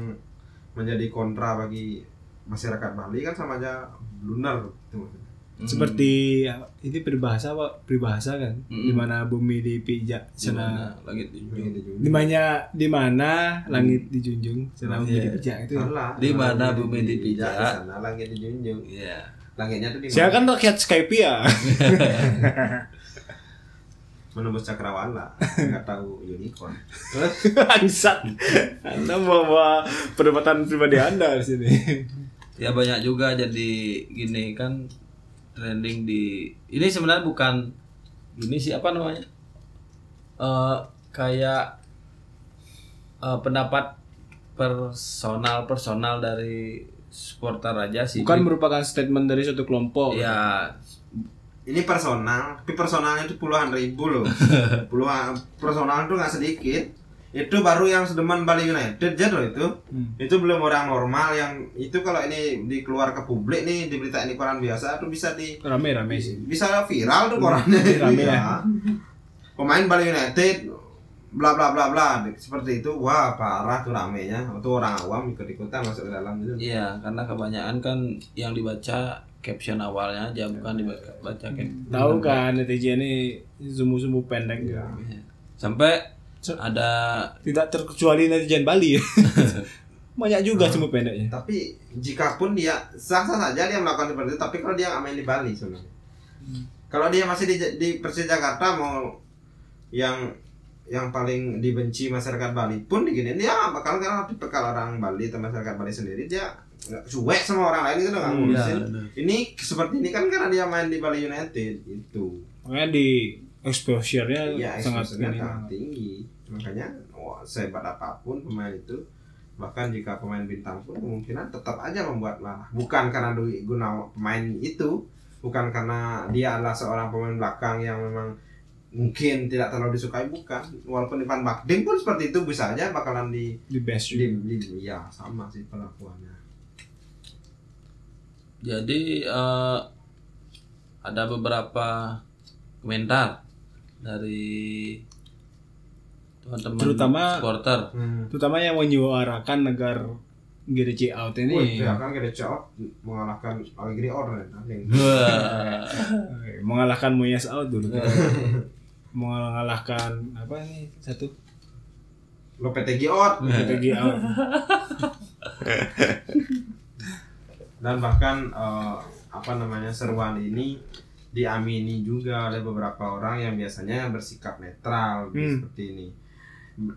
menjadi kontra bagi masyarakat Bali kan sama aja blunder gitu maksudnya.
Mm.
Seperti ya, ini peribahasa Pak, peribahasa kan.
Mm-mm.
Di mana bumi dipijak sana
Gimana? langit dijunjung.
Begitu juga.
di mana di mana
Hmm.
langit dijunjung sana bumi
Iya.
dipijak itu. ya.
Salah.
Di mana
Langit
bumi dipijak.
di sana langit dijunjung.
Iya.
Langitnya tuh di
Saya
mana?
kan rakyat Skype ya.
menembus cakrawala nggak tahu unicorn
Bangsat. Anda bawa perdebatan pribadi Anda di sini.
ya banyak juga jadi gini kan trending di ini sebenarnya bukan ini sih apa namanya Eh kayak eh, pendapat personal personal dari supporter aja sih
Bukan Kan merupakan statement dari suatu kelompok.
Iya.
ya
ini personal tapi personalnya itu puluhan ribu loh puluhan personal itu nggak sedikit itu baru yang sedemen Bali United aja loh itu
Hmm.
itu belum orang normal yang itu kalau ini dikeluar ke publik nih diberitain di koran biasa tuh bisa di
Rame-rame sih.
bisa viral tuh korannya itu
Rame ya.
ya. Pemain Bali United bla bla bla bla seperti itu wah parah tuh ramenya itu orang awam ikut ikutan masuk ke dalam gitu
Iya, karena kebanyakan kan yang dibaca caption awalnya aja bukan dibaca baca cap-
Tahu kan netizen ini sumbu-sumbu pendek.
Iya.
Iya. Sampai
Hmm. So-
ada
Tidak terkecuali netizen Bali. Banyak juga sumbu pendeknya.
tapi jika pun dia sah sah saja dia melakukan seperti itu tapi kalau dia nggak main di Bali sebenarnya kalau dia masih di, di Persija Jakarta mau yang yang paling dibenci masyarakat Bali pun diginiin dia bakal karena tapi kalau orang Bali atau masyarakat Bali sendiri dia nggak cuek sama orang lain itu nggak
Hmm,
ya,
ngurusin ini seperti ini kan karena dia main di Bali United itu
Makanya di exposure-nya
ya
sangat
exposure-nya
minim.
sangat tinggi makanya wah, sehebat apapun pemain itu bahkan jika pemain bintang pun kemungkinan tetap aja membuat marah bukan karena Dwi guna pemain itu bukan karena dia adalah seorang pemain belakang yang memang mungkin tidak terlalu disukai bukan walaupun di Van Bakding pun seperti itu bisa aja bakalan di,
Di best
di, di- ya sama sih perlakuannya
Jadi eh, ada beberapa komentar dari teman-teman
Terutama-
supporter.
hmm.
terutama yang menyuarakan agar GDC out ini
Wih, ya kan kita cok mengalahkan Allegri Order anjing.
Wah.
eh, mengalahkan Moyes out dulu kan. mengalahkan apa nih satu
Lopetegui out
strategi out
dan bahkan eh, apa namanya seruan ini diamini juga oleh beberapa orang yang biasanya bersikap netral gitu,
Hmm.
seperti ini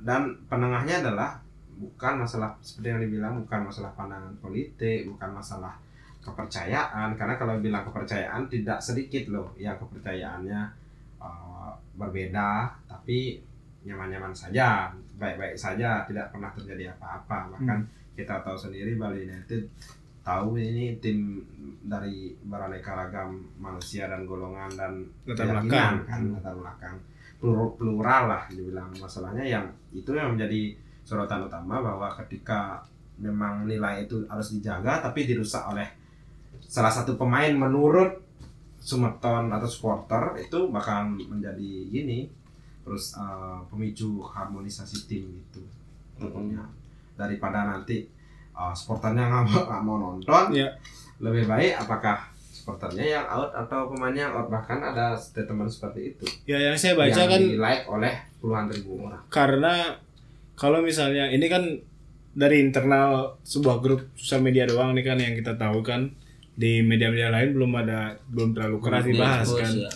dan penengahnya adalah bukan masalah seperti yang dibilang bukan masalah pandangan politik bukan masalah kepercayaan karena kalau bilang kepercayaan tidak sedikit loh yang kepercayaannya eh, berbeda tapi nyaman-nyaman saja baik-baik saja tidak pernah terjadi
Kan?
apa-apa bahkan kita tahu sendiri Bali United tahu ini tim dari beraneka ragam manusia dan golongan dan
Latar
keyakinan,
belakang.
kan latar belakang plural, plural lah dibilang masalahnya yang itu yang menjadi sorotan utama bahwa ketika memang nilai itu harus dijaga tapi dirusak oleh salah satu pemain menurut sumeton atau supporter itu bakal menjadi gini terus eh, pemicu harmonisasi tim gitu pokoknya daripada nanti uh, supporternya nggak mau, nggak mau nonton
Iya.
lebih baik apakah supporternya yang out atau pemainnya yang out bahkan ada statement seperti itu
ya yang saya baca
yang
kan
di like oleh puluhan ribu orang
karena kalau misalnya ini kan dari internal sebuah grup sosial media doang nih kan yang kita tahu kan di media-media lain belum ada belum terlalu keras dibahas
Diekspos,
kan
ya.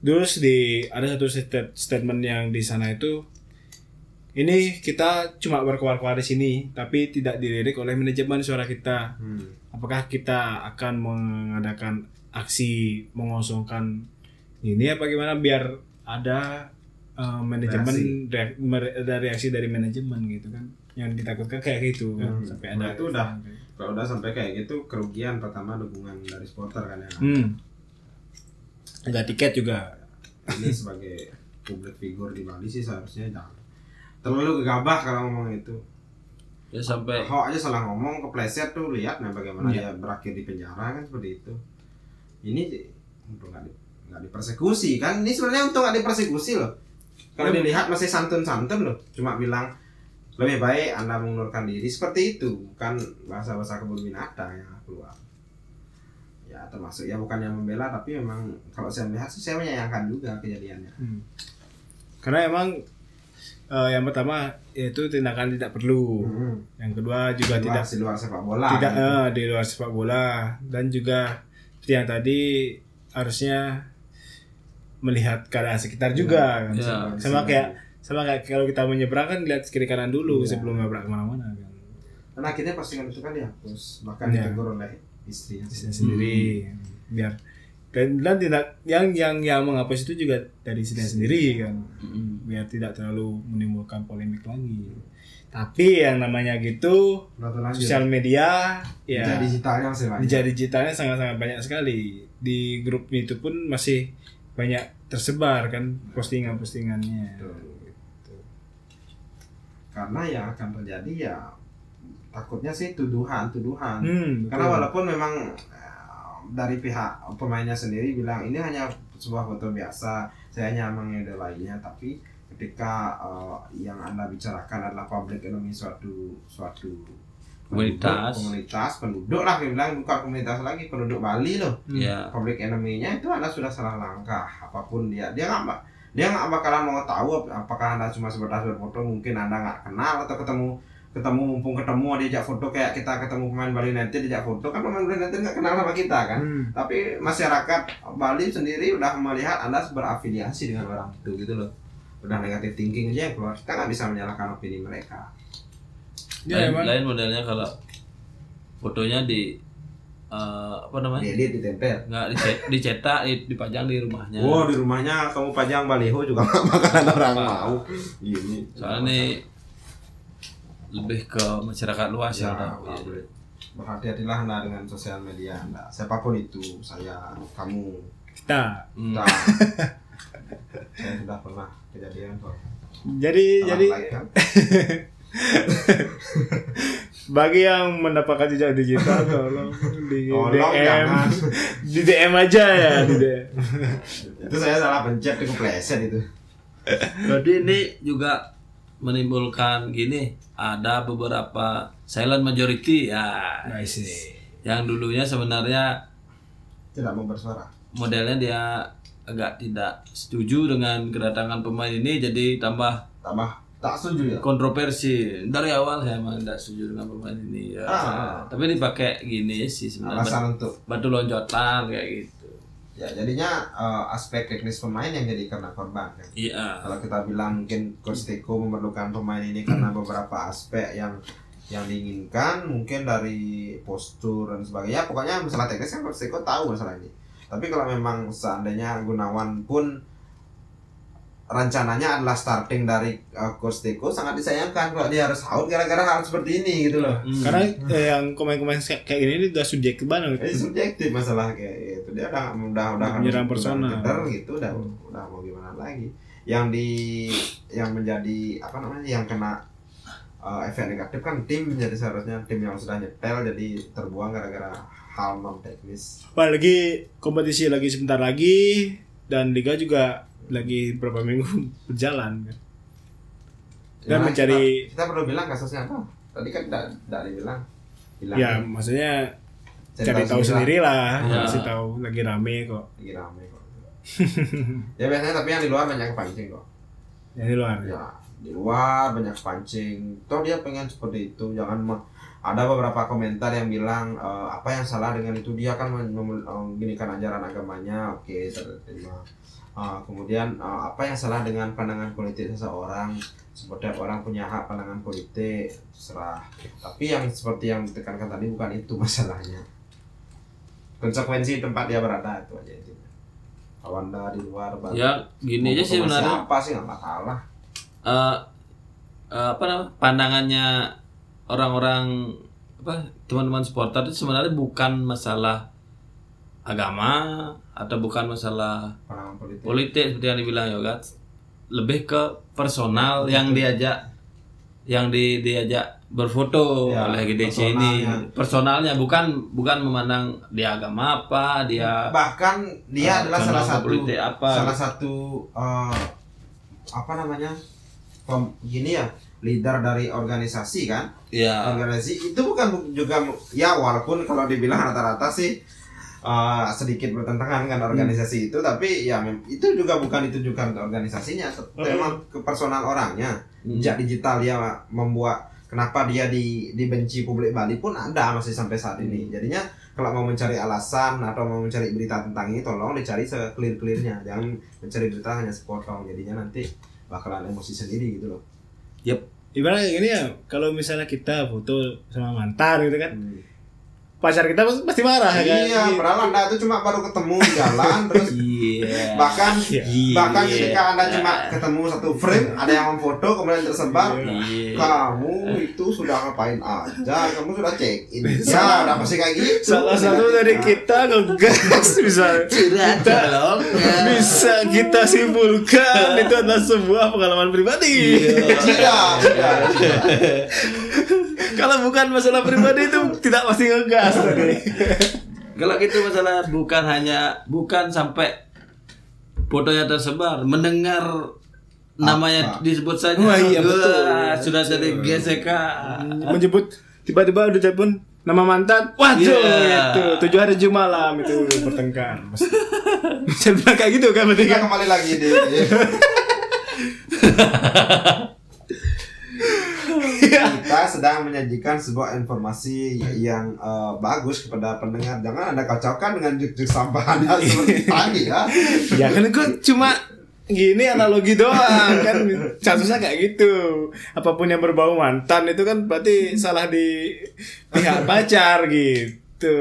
terus di ada satu stat- statement yang di sana itu ini kita cuma berkoar-koar di sini tapi tidak dilirik oleh manajemen suara kita
hmm.
apakah kita akan mengadakan aksi mengosongkan ini apa gimana biar ada uh, manajemen reak- mere- ada reaksi dari manajemen gitu kan yang ditakutkan kayak gitu kan
Hmm.
sampai
Nah,
ada
itu udah. kalau udah sampai kayak gitu kerugian pertama dukungan dari supporter kan ya
hmm. nggak tiket juga
ini sebagai public figure di Bali sih seharusnya jangan terlalu gegabah kalau ngomong itu
ya sampai
Ho aja salah ngomong kepleset tuh lihat nah bagaimana
Iya.
dia berakhir di penjara kan seperti itu ini untuk nggak di, nggak dipersekusi kan ini sebenarnya untuk nggak dipersekusi loh kalau
Iya.
dilihat masih santun-santun loh cuma bilang lebih baik anda mengundurkan diri seperti itu bukan bahasa-bahasa kebun binatang yang keluar ya termasuk ya bukan yang membela tapi memang kalau saya melihat sih saya menyayangkan juga kejadiannya
Hmm. karena emang eh, yang pertama yaitu tindakan tidak perlu
hmm.
yang kedua juga
di luar,
tidak
di luar sepak bola
tidak
gitu.
eh, di luar sepak bola dan juga seperti yang tadi harusnya melihat keadaan sekitar juga kan.
Iya.
sama kayak- sama kayak kalau kita menyeberang kan lihat kiri kanan dulu
Iya.
sebelum nabrak kemana-mana kan
karena akhirnya postingan itu kan dihapus bahkan
Iya.
ditegur oleh istrinya
Bisa sendiri biar dan, dan tidak yang yang yang menghapus itu juga dari sini sendiri kan
Mm-mm.
biar tidak terlalu menimbulkan polemik lagi tapi yang namanya gitu
Nonton lanjut
sosial media ya
Media digitalnya masih banyak
Media digitalnya sangat-sangat banyak sekali. Di grup itu pun masih banyak tersebar kan postingan-postingannya.
Betul. Gitu, karena yang akan terjadi ya takutnya sih tuduhan tuduhan
Hmm,
karena
betul.
walaupun memang eh, dari pihak pemainnya sendiri bilang ini hanya sebuah foto biasa saya hanya lainnya tapi ketika eh, yang anda bicarakan adalah public enemy suatu suatu penduduk,
Komunitas.
komunitas penduduk lah dia bilang bukan komunitas lagi penduduk Bali loh
Hmm.
ya
public enemy-nya itu anda sudah salah langkah apapun dia dia nggak bak- dia nggak bakalan mau tahu ap- apakah anda cuma sebatas berfoto mungkin anda nggak kenal atau ketemu ketemu mumpung ketemu diajak foto kayak kita ketemu pemain Bali United diajak foto kan pemain Bali United nggak kenal sama kita kan
Hmm.
tapi masyarakat Bali sendiri udah melihat anda berafiliasi dengan orang itu gitu loh udah negatif thinking aja yang keluar kita nggak bisa menyalahkan opini mereka
Ya,
lain,
emang.
lain modelnya kalau fotonya di eh, apa namanya
diedit ditempel
nggak dice- dicetak di- dipajang di rumahnya
Wow di rumahnya kamu pajang baliho juga nggak bakalan orang mau gini
soalnya ini lebih ke masyarakat luas
Ya,
ya, udah.
Pak Bro. berhati-hatilah anda dengan sosial media anda siapapun itu saya kamu
Kita.
Hmm.
kita saya sudah pernah kejadian kok
Jadi Iya, jadi
Salah like, kan?
bagi yang mendapatkan jejak digital tolong di
tolong
DM
jangan
di DM aja ya di DM.
itu saya salah pencet itu kepleset itu
Jadi ini juga menimbulkan gini, ada beberapa silent majority ya. Yang dulunya sebenarnya
tidak mau bersuara
modelnya dia agak tidak setuju dengan kedatangan pemain ini jadi tambah
tambah tak setuju ya
kontroversi. Dari awal saya emang tidak setuju dengan pemain ini ya.
Ah.
Tapi dipakai gini sih sebenarnya
alasan untuk
batu lonjotan kayak gitu.
ya jadinya eh, aspek teknis pemain yang jadi karena korban kan
Iya.
kalau kita bilang mungkin Coach Teko memerlukan pemain ini karena beberapa aspek yang yang diinginkan mungkin dari postur dan sebagainya Ya, pokoknya masalah teknis kan Coach Teko tahu masalah ini tapi kalau memang seandainya Gunawan pun rencananya adalah starting dari uh, Coach Teko sangat disayangkan kalau dia harus out gara-gara hal seperti ini gitu loh
Hmm.
Karena eh, yang komen-komen kayak kayak gini ini udah subjektif banget.
jadi subjektif masalah kayak itu dia udah udah udah
Menyerang
udah
personal.
jeder gitu udah udah mau gimana lagi yang di yang menjadi apa namanya yang kena uh, efek negatif kan tim jadi seharusnya tim yang sudah nyetel jadi terbuang gara-gara hal non teknis
Apalagi kompetisi lagi sebentar lagi dan liga juga lagi beberapa minggu berjalan kan. Dan
Nah,
mencari-
kita, kita perlu bilang kasusnya apa? Tadi kan tidak tidak dibilang. Bilang.
ya maksudnya
Cari
cari tahu
tahu
sendiri lah
Ya.
kasih tahu lagi rame kok
Lagi rame kok. ya biasanya tapi yang di luar banyak kepancing kok.
yang di luar
Ya di luar banyak kepancing. Toh dia pengen seperti itu. Jangan me- ada beberapa komentar yang bilang "Eh, apa yang salah dengan itu dia kan mem- mem- mengginikan ajaran agamanya. Oke terima. Eh, kemudian eh, apa yang salah dengan pandangan politik seseorang? Seperti orang punya hak pandangan politik, serah. Tapi yang seperti yang ditekankan tadi bukan itu masalahnya. Konsekuensi tempat dia berada itu aja intinya. Kalau anda di luar Bali,
ya gini aja sih
mau
sebenarnya
Apa sih nggak masalah.
eh eh, apa namanya pandangannya orang-orang apa teman-teman supporter itu sebenarnya bukan masalah agama atau bukan masalah
Pandangan politik.
politik seperti yang dibilang Yoga lebih ke personal yang diajak yang di, diajak berfoto
Ya,
oleh GDC
personalnya.
ini personalnya bukan bukan memandang dia agama apa dia
Bahkan dia
eh,
adalah salah
condong ke
satu
politik apa
salah satu eh, apa namanya pem, gini ya leader dari organisasi kan
ya
organisasi itu bukan bu- juga ya walaupun kalau dibilang rata-rata sih uh, sedikit bertentangan
Hmm.
dengan organisasi itu tapi ya mem- itu juga bukan ditujukan ke organisasinya tet-
Hmm.
Mm.
memang ke personal orangnya sejak digital dia membuat kenapa dia di dibenci publik Bali pun ada masih sampai saat ini jadinya kalau mau mencari alasan atau mau mencari berita tentang ini tolong dicari clear clearnya jangan mencari berita hanya sepotong jadinya nanti bakalan emosi sendiri gitu loh
ibaratnya gini ya kalau misalnya kita foto sama mantan gitu kan
Hmm.
pacar kita pasti- pasti marah kan
Iya, padahal anda itu cuma baru ketemu di jalan terus
Iya.
bahkan
Iya.
bahkan
Iya.
ketika anda cuma ketemu satu frame ada yang memfoto kemudian tersebar
Iya.
kamu itu sudah ngapain aja kamu sudah check in
Salah.
ya udah pasti kayak gitu
salah satu dari kita ngegas bisa
Kita loh.
bisa kita simpulkan
Iya.
itu adalah sebuah pengalaman pribadi
Ya, tidak tidak
kalau bukan masalah pribadi itu tidak pasti ngegas
Kalau gitu masalah bukan hanya bukan sampai fotonya tersebar, mendengar namanya disebut saja.
Wah, iya,
Wah,
betul. Hmm.
Sudah dari gesekan.
menyebut tiba-tiba udah telepon nama mantan waduh
Iya.
itu tujuh hari Jumat malam itu bertengkar Pasti. bisa bilang kayak gitu kan berarti
kita
kan
kembali lagi di kita sedang menyajikan sebuah informasi yang eh, bagus kepada pendengar jangan anda kacaukan dengan juk-juk sampah anda seperti tadi ya
ya kan gue cuma gini analogi doang kan kasusnya kayak gitu apapun yang berbau mantan itu kan berarti salah di pihak pacar gitu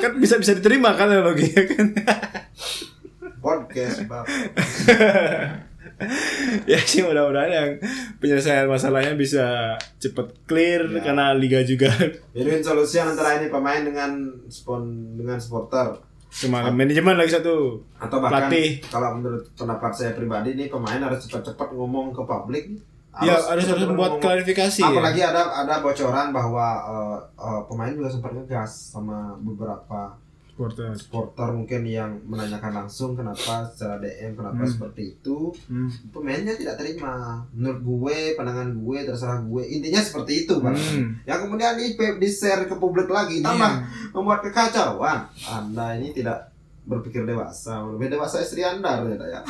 kan bisa bisa diterima kan analoginya kan
podcast bapak
ya sih mudah-mudahan yang penyelesaian masalahnya bisa cepet clear
Ya.
karena liga juga
Irwin solusi antara ini pemain dengan spon dengan supporter
cuma manajemen lagi satu
atau bahkan
Pelatih.
kalau menurut pendapat saya pribadi nih pemain harus cepat-cepat ngomong ke publik
ya harus harus
cepat-cepat
buat
ngomong.
klarifikasi ya.
apalagi ada ada bocoran bahwa eh, eh, pemain juga sempat ngegas sama beberapa
Supporter.
supporter mungkin yang menanyakan langsung kenapa secara DM kenapa
Hmm.
seperti itu
Hmm.
pemainnya tidak terima menurut gue pandangan gue terserah gue intinya seperti itu Bang.
Hmm.
yang kemudian di, di share ke publik lagi tambah membuat kekacauan. Anda ini tidak berpikir dewasa, lebih dewasa istri Anda ternyata ya.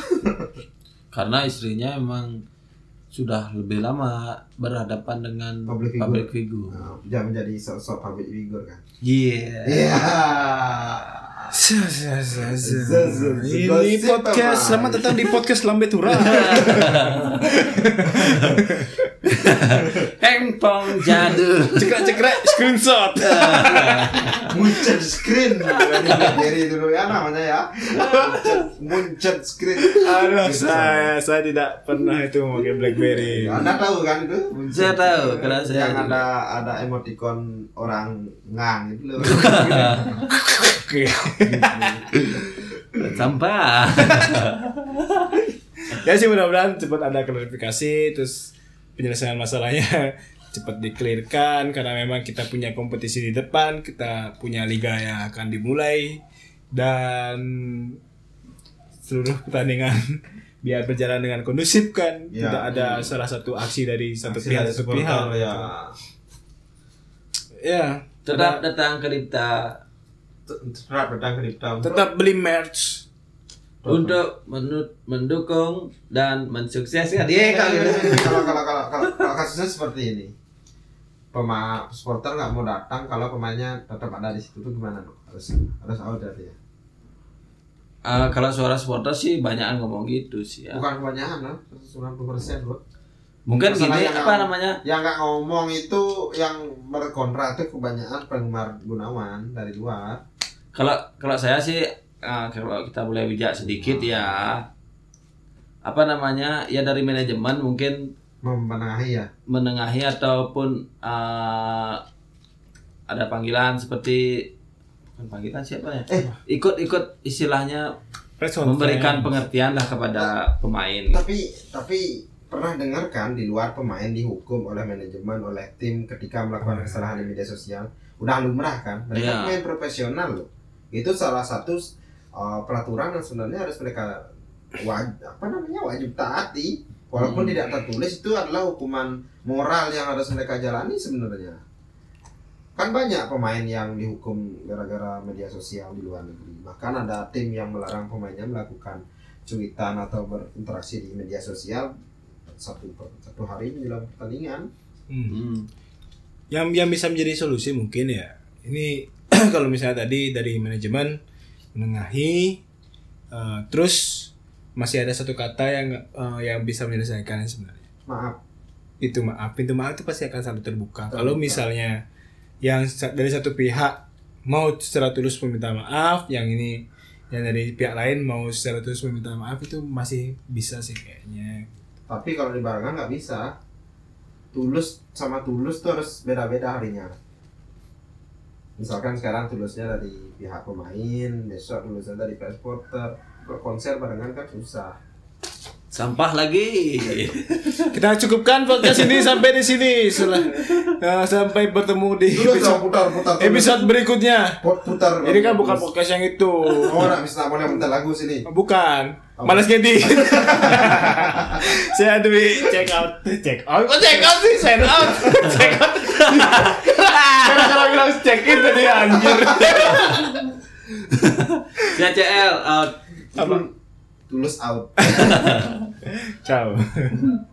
Karena istrinya emang sudah lebih lama berhadapan dengan
Public figure.
public figure.
Nah, Dia menjadi sosok public figure kan.
Iya.
Iya.
Zah, zah, zah,
Zah,
zah.
zah, zah.
Ini
Gosip
podcast
emang.
selamat datang di podcast Lambe Tura.
Hengpong jadul.
Cekrek-cekrek screenshot.
Muncet screen. Jadi dulu ya namanya ya. Muncet, muncet screen.
Aduh, saya saya tidak pernah itu pakai BlackBerry.
Anda tahu kan itu? Muncet.
Saya tahu, karena saya
yang
juga.
ada ada emoticon orang ngang itu loh.
Oke.
Sampah.
Ya sih mudah-mudahan cepat ada klarifikasi terus penyelesaian masalahnya cepat dikelirkan karena memang kita punya kompetisi di depan, kita punya liga yang akan dimulai dan seluruh pertandingan biar berjalan dengan kondusif kan
Ya.
tidak ada salah satu aksi dari satu
Aksi
pihak
dari
satu
supporter,
pihak
ya.
ya
Tetap datang ke Dipta
Terap datang ke Dipta untuk
tetap beli merch
untuk menu- mendukung dan mensukseskan. Iya kalau gitu.
kalau kalau kalau kalau kalau kasusnya seperti ini pema supporter nggak mau datang kalau pemainnya tetap ada di situ tuh gimana dok harus harus out dari ya
Ah, kalau suara supporter sih banyak yang ngomong gitu sih ya.
bukan kebanyakan lah 90 persen loh
Mungkin
Masalah
gini
yang-
apa namanya?
yang nggak ngomong itu yang berkontrak itu kebanyakan penggemar gunawan dari luar
Kalau kalau saya sih ah, kalau kita boleh bijak sedikit ya apa namanya? Ya dari manajemen mungkin
memenangi ya
menengahi ataupun eh, ada panggilan seperti bukan panggilan siapa ya?
Eh.
Ikut-ikut istilahnya
Press conference.
memberikan pengertian lah kepada pemain.
tapi tapi pernah dengar kan di luar pemain dihukum oleh manajemen oleh tim ketika melakukan kesalahan di media sosial udah lumrah kan mereka
Iya.
pemain profesional loh itu salah satu uh, peraturan yang sebenarnya harus mereka wajib apa namanya wajib taati walaupun
Hmm.
tidak tertulis itu adalah hukuman moral yang harus mereka jalani sebenarnya kan banyak pemain yang dihukum gara-gara media sosial di luar negeri bahkan ada tim yang melarang pemainnya melakukan cuitan atau berinteraksi di media sosial satu per- satu hari menjelang pertandingan
Hmm.
Hmm.
yang yang bisa menjadi solusi mungkin ya ini kalau misalnya tadi dari manajemen menengahi eh, terus masih ada satu kata yang eh, yang bisa menyelesaikan sebenarnya
maaf
pintu maaf pintu maaf itu pasti akan selalu terbuka
Terbuka.
kalau misalnya yang sa- dari satu pihak mau secara tulus meminta maaf yang ini yang dari pihak lain mau secara tulus meminta maaf itu masih bisa sih kayaknya
tapi kalau di barangan nggak bisa tulus sama tulus tuh harus beda-beda harinya misalkan sekarang tulusnya dari pihak pemain besok tulusnya dari pihak supporter Kalau konser barengan kan susah
Sampah lagi.
kita cukupkan podcast ini sampai di sini Setelah- eh, sampai bertemu di
tulus
episode
dong putar putar tulus.
episode berikutnya.
Put- putar
Ini kan bukan
Tulus.
podcast yang itu.
oh nggak bisa nggak boleh minta lagu sini
Bukan. Malas ngedit. saya Dwi check out, check out. Kok check out sih? Sign out. Check out. Karena kalau bilang check in tadi anjir.
CCL out.
Apa?
tulus out
Ciao.